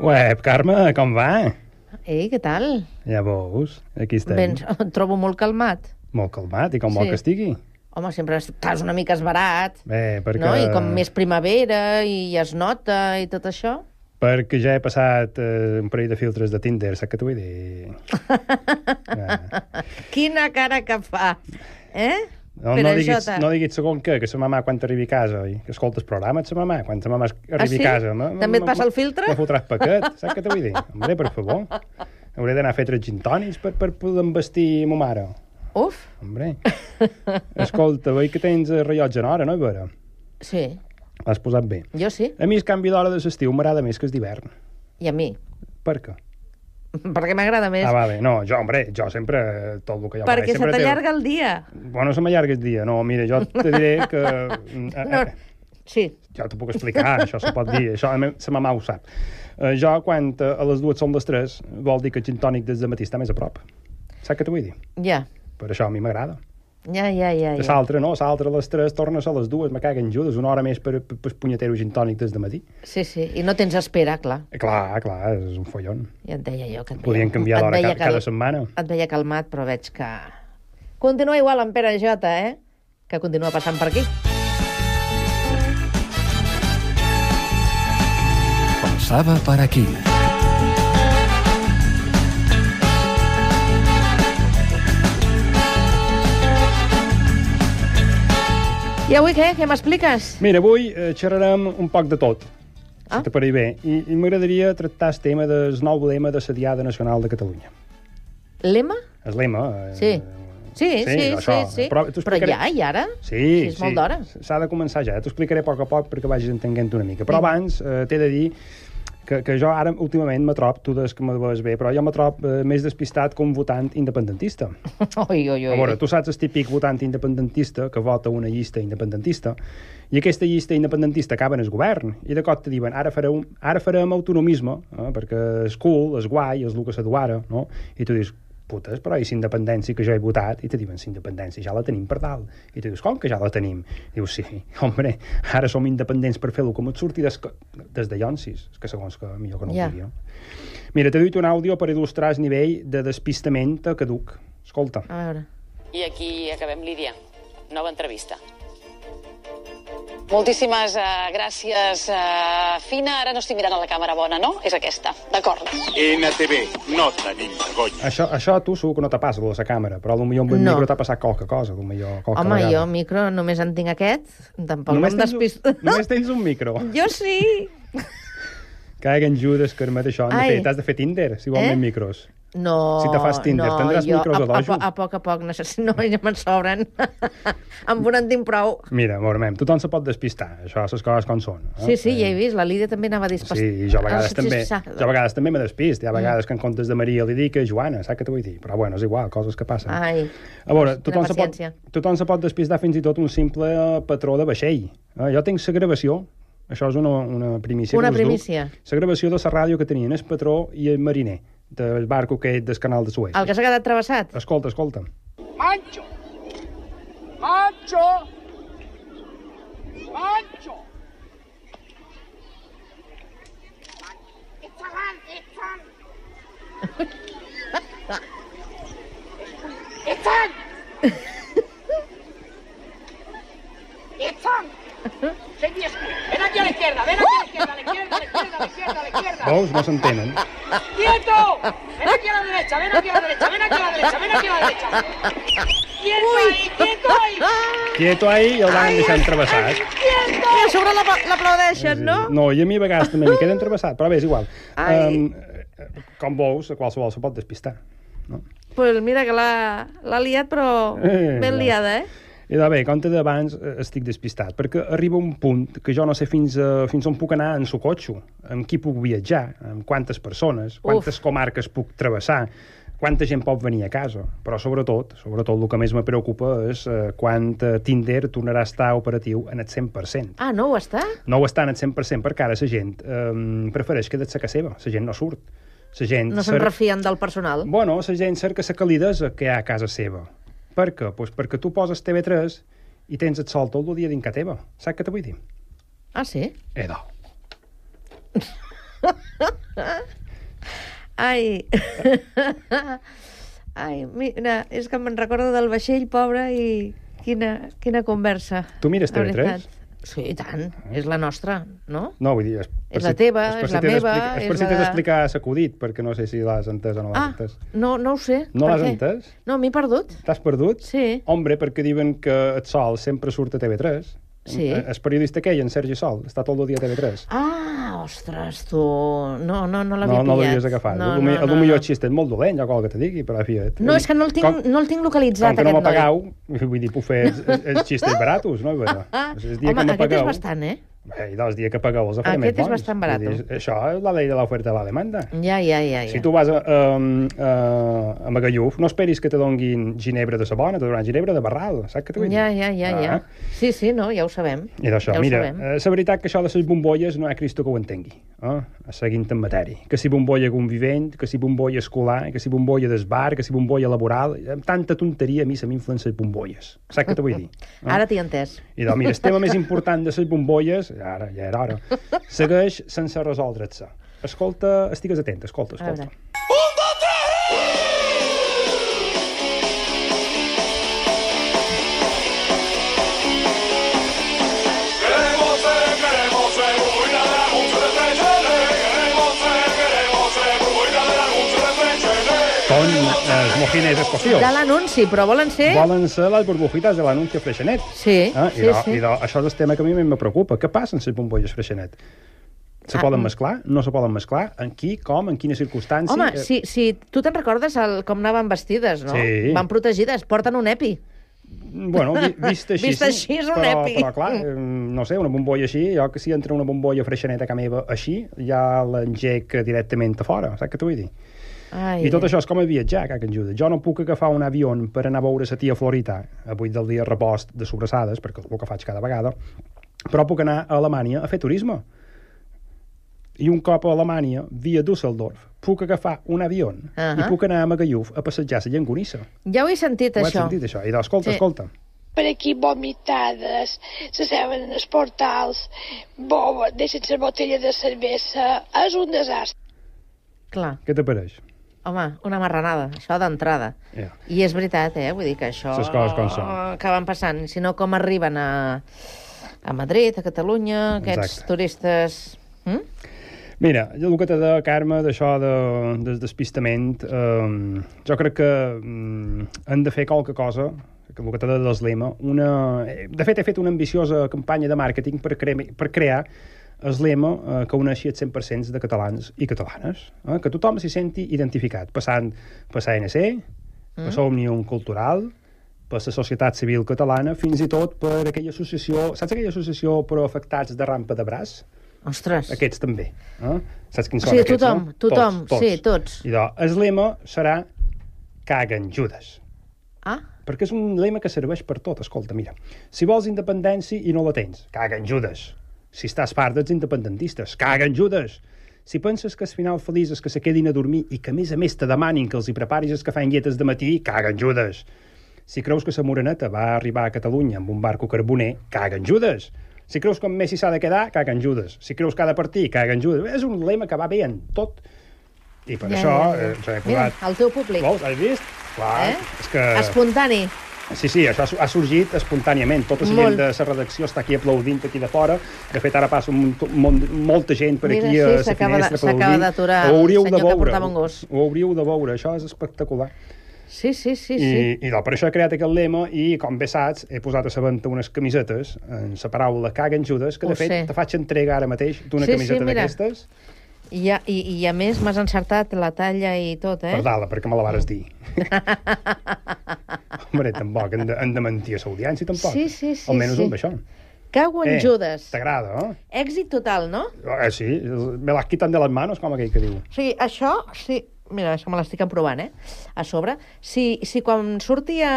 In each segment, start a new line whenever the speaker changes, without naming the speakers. Uep, Carme, com va?
Ei, què tal?
Ja veus, aquí estem.
Ben, et trobo molt calmat.
Molt calmat, i com vol
Sí.
que estigui?
Home, sempre estàs una mica esbarat,
Bé, perquè...
no? I com més primavera, i ja es nota, i tot això.
Perquè ja he passat eh, un parell de filtres de Tinder, saps què t'ho vull dir? ah.
Quina cara que fa, eh?
No,
Per
no,
això
diguis,
t'ha-
no diguis segon què, que sa mamà quan t'arribi a casa, oi? Que escolta el programa de sa mamà, quan sa mamà es- arribi
Ah, sí?
a casa. ma-
També et
ma-
passa el
ma-
filtre?
Me fotràs paquet, saps què t'ho vull dir? Hombre, per favor. Hauré d'anar a fer tres gintònics per, per poder embestir ma mare.
Uf,
Hombre. Escolta, veig que tens el rellotge en hora, no? A veure,
sí,
l'has posat bé.
jo sí,
A mi el canvi d'hora de l'estiu m'agrada més que el d'hivern.
i a mi.
Per què?
Perquè m'agrada més.
Ah, va bé. No, jo, hombre, jo sempre, eh, tot el que jo
perquè se
sempre té-
t'allarga el dia.
Bueno, se m'allarga el dia. No, mira, jo te diré que... mm, eh,
No,
eh,
sí,
Jo t'ho puc explicar, això se pot dir, això la me- sa mamà ho sap. Eh, jo, quan eh, a les dues són les tres, vol dir que el gin tònic des de matí està més a prop. Saps què t'ho vull dir?
ja.
Per això a mi m'agrada.
Ja, ja, ja,
Ja.
ja.
L'altre no, l'altre a les tres, tornes a les dues, me caguen judes, una hora més per, per, per punyetero gin tònic des de matí.
Sí, sí, i no tens espera, clar.
Eh, clar, clar, és un follon.
Ja et deia jo que et
Podien
veia-
canviar
et
l'hora
veia
cada, cada
cal-
setmana.
Et veia calmat, però veig que... Continua igual en Pere Jota, eh? Que continua passant per aquí.
Pasaba para aquí.
I avui què? Què m'expliques?
Mira, avui eh, xerrarem un poc de tot, ah?
Ah.
si t'apareix bé. I, i m'agradaria tractar el tema del nou lema de la Diada Nacional de Catalunya.
Lema?
El lema... Eh,
Sí. Sí, sí, sí, sí.
això. eh,
sí.
Però,
Però,
t'ho
però
explicaré-
ja, i ara?
Sí,
Sí, és molt d'hora.
S'ha de començar ja. T'ho explicaré a poc a poc perquè vagis entenguent una mica. Però abans eh, t'he de dir que, que jo ara últimament me trob, tu des que me veus bé, però jo me trob eh, més despistat que un votant independentista.
Oi, oi,
A
oi.
veure, tu saps el típic votant independentista que vota una llista independentista i aquesta llista independentista acaba en el govern i de cop te diuen ara farem, ara farem autonomisme eh, perquè és cool, és guai, és el que s'aduara, no? I tu dius, putes, però i si independència que jo he votat? I te diuen, si independència ja la tenim per dalt. I tu dius, com que ja la tenim? Dius, sí, hombre, ara som independents per fer-lo com et surti des, que- des de Llonsis, és que segons que millor que no ho
Ja.
digui, no? Mira, t'he dit un àudio per il·lustrar el nivell de despistament caduc. Escolta.
A veure.
I aquí acabem, Lídia. Nova entrevista. Moltíssimes uh, gràcies, uh, Fina. Ara no estic mirant a la càmera bona, no? És aquesta. D'acord.
NTV, no tenim vergonya.
Això, això a tu segur que no te passa, lo de la càmera, però potser amb el
No.
micro t'ha passat qualque cosa, potser qualque
Home,
vegada.
jo micro només en tinc aquest. Tampoc
Només,
no em
tens
despisto.
un, només tens un micro.
Jo sí.
Caga en Judes, Carmet, això. hem de
Ai.
fer- T'has de fer Tinder, si vols
Eh?
eh? micros.
No,
Si te fas Tinder,
no,
tindràs
jo,
micros a
a,
dojo.
a, a, poc a poc necessito, no, ja me'n sobren. amb un en tinc prou.
Mira, veurem, tothom se pot despistar, això, les coses com són. Eh,
Sí, sí, ja he vist, la Lídia també anava dispast...
Sí, i jo a vegades,
Ah,
també,
sí, Mm.
jo a vegades també me despist. Hi ha vegades que en comptes de Maria li dic a Joana, saps què t'ho vull dir? Però bueno, és igual, coses que passen.
Ai,
A veure,
Quina
tothom se, pot,
paciència.
tothom se pot despistar fins i tot un simple eh, patró de vaixell. Eh, jo tinc la gravació, això és una, una primícia.
Una
que us duc.
primícia.
La gravació de la ràdio que tenien el patró i el mariner del barco aquest del canal de Suez.
el que s'ha quedat travessat.
Escolta, escolta.
Mancho. Mancho. Mancho. It's a hand, it's a hand. It's on. It's on. Seguí, ven aquí a la izquierda, ven aquí a la izquierda, a la izquierda, a la izquierda, a la izquierda, a la izquierda.
Veus? No s'entenen.
¡Quieto! Ven aquí a la derecha, ven aquí a la derecha, ven aquí a la derecha, ven aquí a la derecha. ¡Quieto ahí, quieto ahí!
Quieto ahí i el van deixant travessat.
¡Quieto!
I a sobre l'apa- l'aplaudeixen, no?
No, i a mi a vegades també m'hi queda entrevessat, però bé, és igual.
Ai.
Um, com veus, a qualsevol se pot despistar. No?
Pues mira que l'ha l'ha liat, però
Eh,
ben
no.
liada, eh?
I de bé, com t'he dit abans, eh, estic despistat, perquè arriba un punt que jo no sé fins, a, fins on puc anar en socotxo, amb qui puc viatjar, amb quantes persones, quantes Uf. comarques puc travessar, quanta gent pot venir a casa. Però sobretot, sobretot el que més me preocupa és eh, quan eh, Tinder tornarà a estar operatiu en el 100%.
Ah, no ho està?
No ho està en el 100% perquè ara la gent eh, prefereix quedar-se a casa seva, la gent no surt. La gent
No se'n
cer-
refien del personal?
Bueno, la gent cerca la calidesa que hi ha a casa seva. Per què? Pues perquè tu poses TV3 i tens et sol tot el dia dintre teva. Saps què t'ho vull dir?
Ah, sí?
Edo.
Ai. Ai, mira, és que me'n recordo del vaixell, pobre, i quina, quina conversa.
Tu mires
la
TV3?
veritat. Sí, i tant. És la nostra, no?
No, vull dir... És, per
És la teva,
per
és la
t'he
meva,
d'explicar- És
és
per si
la
t'he
de-
d'explicar s'acudit, perquè no sé si l'has entès o no l'has
Ah,
entès.
no, no ho sé.
No
Per
l'has
què?
entès?
No, m'he perdut.
T'has perdut?
Sí.
Hombre, perquè diuen que el Sol sempre surt a TV3.
Sí.
Eh, El periodista aquell, en Sergi Sol, està tot el dia a TV3.
Ah, ostres, tu... No, no, no l'havia
No, no
pillat.
l'havies agafat. No, no, el millor no. xist és molt dolent, ja qual que te digui, però fia't.
No, és que no el tinc,
Com,
no el tinc
com
localitzat,
que no
aquest noi.
m'apagau, vull dir, puc fer els, els, els xistes baratos, no? Bueno,
Ah,
el Doncs dia
home,
que
aquest és
m'apagueu-
bastant, eh?
Ei, dels dies que pagueu els ha fet
Aquest
més
és
bons.
bastant barat.
Vull dir, Això és la llei de l'oferta i la demanda.
Ja, ja, ja. ja.
Si tu vas ehm, a, a, a, a Magalluf, no esperis que te donguin ginebra de sabona, te donaran ginebra de barral, saps què t'ho vull dir? Ah.
Ja, ja, ja, ja. Sí, sí, no, ja ho sabem.
I d'això,
ja ho
mira,
sabem.
eh, la veritat que això de les bombolles no hi ha Cristo que ho entengui, eh? seguint en matèria. Que si bombolla convivent, que si bombolla escolar, que si bombolla d'esbar, que si bombolla laboral, eh, amb tanta tonteria a mi se m'inflen les bombolles. Saps què t'ho vull dir? eh?
Ara t'hi he entès.
I doncs, mira, el tema més important de les bombolles, ara, ja era hora, segueix sense resoldre-se. Escolta, estigues atent, escolta,
A
escolta.
veure.
Són els mojines escocios.
De l'anunci, però volen ser...
Volen ser les burbujitas de l'anunci Freixenet.
Sí,
eh?
sí,
I, do,
sí.
I do, això és el tema que a mi me preocupa. Què passa amb les bombolles Freixenet? Se
Ah,
poden
mm.
mesclar? No se poden mesclar? En qui? Com? En quines circumstàncies?
Home,
Eh,
si, si tu te'n recordes el, com anaven vestides, no?
Sí.
Van protegides, porten un epi.
Bueno, vi, vist així,
Vist
sí,
així és un Mm.
però,
epi.
Però, clar, eh, no sé, una bombolla així, jo que si entra una bombolla freixeneta que meva així, ja l'engec directament a fora, saps què t'ho vull dir?
Ai.
I tot això és com a viatjar, que en Judes. Jo no puc agafar un avió per anar a veure sa tia Florita avui del dia repost de sobrassades, perquè és el que faig cada vegada, però puc anar a Alemanya a fer turisme. I un cop a Alemanya, via Düsseldorf, puc agafar un avió uh -huh.
Ahà.
i puc anar a Magalluf a passejar la llangonissa.
Ja ho he sentit,
Ho has
això.
sentit, això? I doncs, escolta,
Sí.
sí. escolta.
per aquí vomitades, se seuen en els portals, boba, deixen la botella de cervesa, és un desastre.
Clar.
Què t'apareix?
Home, una marranada, això d'entrada.
Ja.
I és veritat, eh? Vull dir que això...
Ses coses com són.
Que van passant. Si no, com arriben a, a Madrid, a Catalunya, aquests
Exacte.
turistes... Hm?
Mira, el que t'ha de Carme, d'això de, del despistament, eh, jo crec que mm, hem de fer qualque cosa, que el que t'ha de deslema, una... eh, De fet, he fet una ambiciosa campanya de màrqueting per, cre per crear el lema eh, que uneixi el 100% de catalans i catalanes, eh, que tothom s'hi senti identificat, passant per l'ANC, per l'Òmnium Cultural, per la societat civil catalana, fins i tot per aquella associació... Saps aquella associació per afectats de rampa de braç?
Ostres.
Aquests també. Eh? Saps quins
O
són
sigui,
aquests,
tothom,
no?
tothom,
tots, tots.
sí, tots.
Idò, el lema serà caguen Judes.
Ah,
Perquè és un lema que serveix per tot. Escolta, mira, si vols independència i no la tens, caguen Judes. Si estàs part dels independentistes, caguen Judes. Si penses que el final feliç és que se quedin a dormir i que, a més a més, te demanin que els hi preparis els que fan lletes de matí, caguen Judes. Si creus que sa moreneta va arribar a Catalunya amb un barco carboner, caguen Judes. Si creus que amb Messi s'ha de quedar, caguen Judes. Si creus que ha de partir, caguen Judes. És un lema que va bé en tot. I per
Ja,
això
ja, ja.
eh, s'ha
mira,
posat...
el teu públic.
Vols? Has vist? Clar,
Eh?
és que...
Espontani.
Sí, sí, això ha su- ha sorgit espontàniament. Tota la
Molt.
gent de la redacció està aquí aplaudint aquí de fora. De fet, ara passa un, munt- mon, molta gent per
Mira,
aquí
sí,
a la
s'acaba de-
finestra
s'acaba
aplaudint.
d'aturar el
Ho hauríeu de
senyor que
veure,
portava un gos.
Ho hauríeu de veure, això és espectacular.
Sí, sí, sí,
I,
sí.
i no, per això he creat aquest lema i, com bé saps, he posat a la venta unes camisetes en la paraula caguen judes, que
Ho
de fet
sé.
te faig entrega ara mateix d'una
Oh, Sí, sí,
camiseta
mira.
d'aquestes.
I, a, i, I a més m'has encertat la talla i tot, eh?
Per dalt, perquè me la vares dir. Hombre, tampoc, hem de, hem de mentir a l'audiència, tampoc.
Sí, sí, sí,
Almenys
sí.
un d'això.
Cago
Eh,
en Judes.
T'agrada, no?
Èxit total, no?
Eh, sí, me l'has quitat de les manos, com aquell que diu.
O sigui, això, sí... Mira, això me l'estic emprovant, eh? A sobre. Si, si quan surti a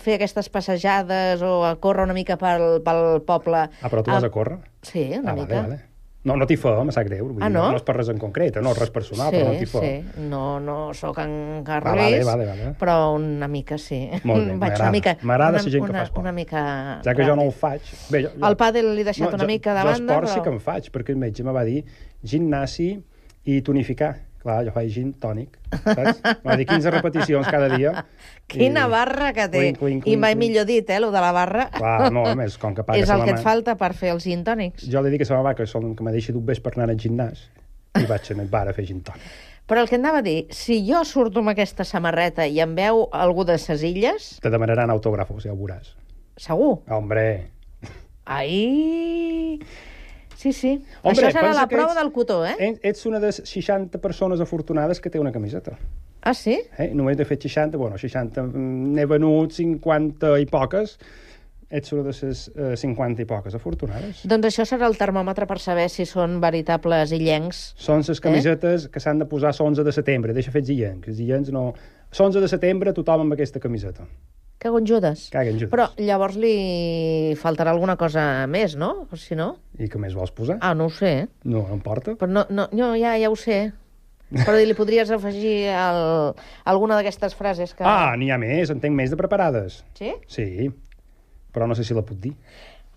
fer aquestes passejades o a córrer una mica pel, pel poble...
Ah, però tu vas a córrer?
Sí, una
ah,
mica.
Vale, vale. No, no t'hi fa, em sap greu. Vull
Ah,
dir,
no?
no és per res en concret, eh, no, res personal,
sí,
però no t'hi fa.
sí. No, no sóc en Carles,
Va, vale, vale, vale.
però una mica sí.
Molt bé,
Vaig
m'agrada.
una mica-
M'agrada
una-
la gent que
una-
fa esport.
Una mica...
Ja que jo no
grande.
ho faig... Bé, jo,
Ah, El pàdel l'he deixat una
jo,
mica de
jo
banda,
esport
però-
sí que en faig, perquè el metge em va dir gimnasi, i tonificar. Clar, jo faig gin tònic, saps? Va dir 15 repeticions cada dia.
Quina barra que té.
Clink, clink, clink,
I mai
clink.
millor dit, eh, lo de la barra.
Clar, no, a més, com que paga
és
sa
el que
mama-
et falta per fer els gin tònics.
Jo li dic a la meva mare que, sol, que me deixi d'un vespre per anar al gimnàs i vaig anar al bar a fer gin tònic.
Però el que anava a dir, si jo surto amb aquesta samarreta i em veu algú de ses illes,
Te demanaran autògrafos, ja ho veuràs.
segur.
Hombre,
Ai... Sí, sí.
Hombre,
Això serà
pensa
la
que
prova
ets-
del cotó, eh?
Et- ets una de les 60 persones afortunades que té una camiseta.
Ah, sí?
Eh? Només n'he fet 60, bueno, 60 mm, n'he venut 50 i poques. Ets una de les eh, 50 i poques afortunades.
Doncs això serà el termòmetre per saber si són veritables illencs.
Són les camisetes eh? que s'han de posar l'11 de setembre. Deixa fer zillencs. Els zillencs no... L'11 de setembre tothom amb aquesta camiseta.
Caguen Judes.
Caguen judes.
Però llavors li faltarà alguna cosa més, no? O si no...
I què més vols posar?
Ah, no ho sé, eh?
No, no em porta.
Però no, no, no ja, ja ho sé. Però li podries afegir el, alguna d'aquestes frases que...
Ah, n'hi ha més, en tenc més de preparades.
Sí?
Sí, però no sé si la puc dir.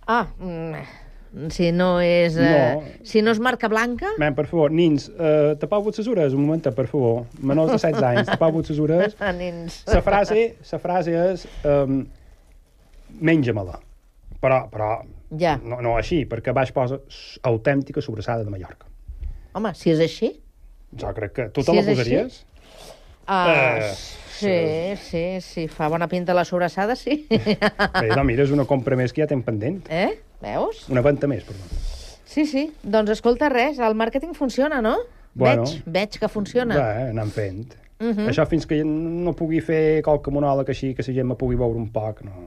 Ah, mm, si no és... Eh,
No.
Si no és marca blanca...
Men, per favor, nins, uh, tapau les ures, un moment, per favor. Menors de 16 anys, tapau les ures.
Ah, nens.
La frase, la frase és... Um, Menja-me-la. Però, però
Ja.
no, no així, perquè baix posa s- autèntica sobrassada de Mallorca.
Home, si és així...
Jo crec que... Tu te
Si
la
és
posaries?
Ah,
Eh,
sí, sí, sí, fa bona pinta la sobrassada, sí.
Bé, no, mira, és una compra més que ja tens pendent.
eh? Veus?
Una venta més, perdó.
Sí, sí. Doncs escolta, res, el màrqueting funciona, no?
Bueno.
Veig, veig que funciona.
Va, eh, anant fent. Uh
Mhm.
-huh. Això fins que no pugui fer qualque monòleg així, que la gent me pugui veure un poc, no...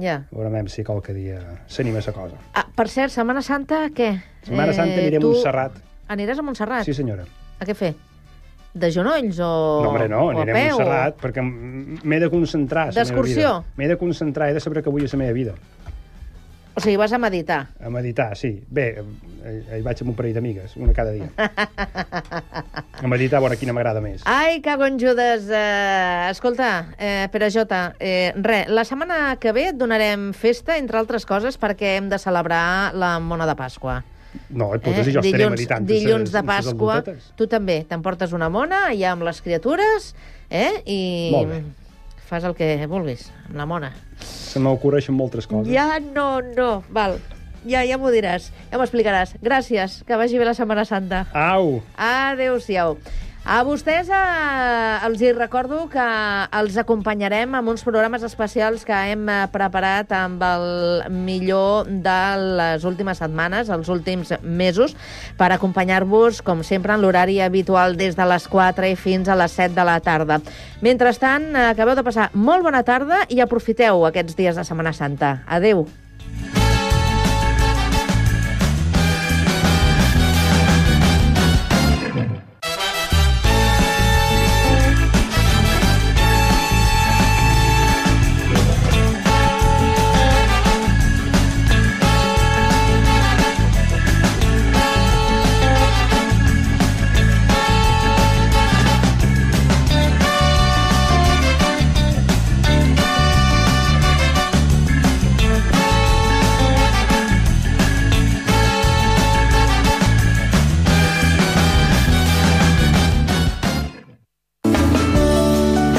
Ja.
Veurem si qualque dia s'anima la cosa.
Ah, per cert, Setmana Santa, què? Eh,
Setmana Santa aniré a Montserrat.
Aniràs a Montserrat?
Sí, senyora.
A què fer? De genolls o
No, hombre, no,
o a
aniré a
Oh, peu?
Montserrat, perquè m- m'he de concentrar. a la meva
D'excursió?
vida. M'he de concentrar, he de saber que vull a la meva vida.
O sigui, vas a meditar.
A meditar, sí. Bé, eh, eh, hi vaig amb un parell d'amigues, una cada dia. a meditar, a veure quina m'agrada més.
Ai, que gonjudes! Eh, escolta, eh, Pere Jota, eh, re, la setmana que ve et donarem festa, entre altres coses, perquè hem de celebrar la mona de Pasqua.
No, et fotes i jo estaré meditant. amb ses-
eh, dilluns de
amb ses
Pasqua.
alborotetes.
Tu també t'emportes una mona, ja amb les criatures, eh? I
Molt bé.
fas el que vulguis, amb la mona.
Se m'ocorreixen moltes coses.
Ja no, no, val. Ja, ja m'ho diràs, ja m'ho explicaràs. Gràcies, que vagi bé la Setmana Santa.
Au!
Adéu-siau. A vostès eh, els hi recordo que els acompanyarem amb uns programes especials que hem eh, preparat amb el millor de les últimes setmanes, els últims mesos, per acompanyar-vos, com sempre, en l'horari habitual des de les 4 i fins a les 7 de la tarda. Mentrestant, eh, acabeu de passar molt bona tarda i aprofiteu aquests dies de Setmana Santa. Adéu.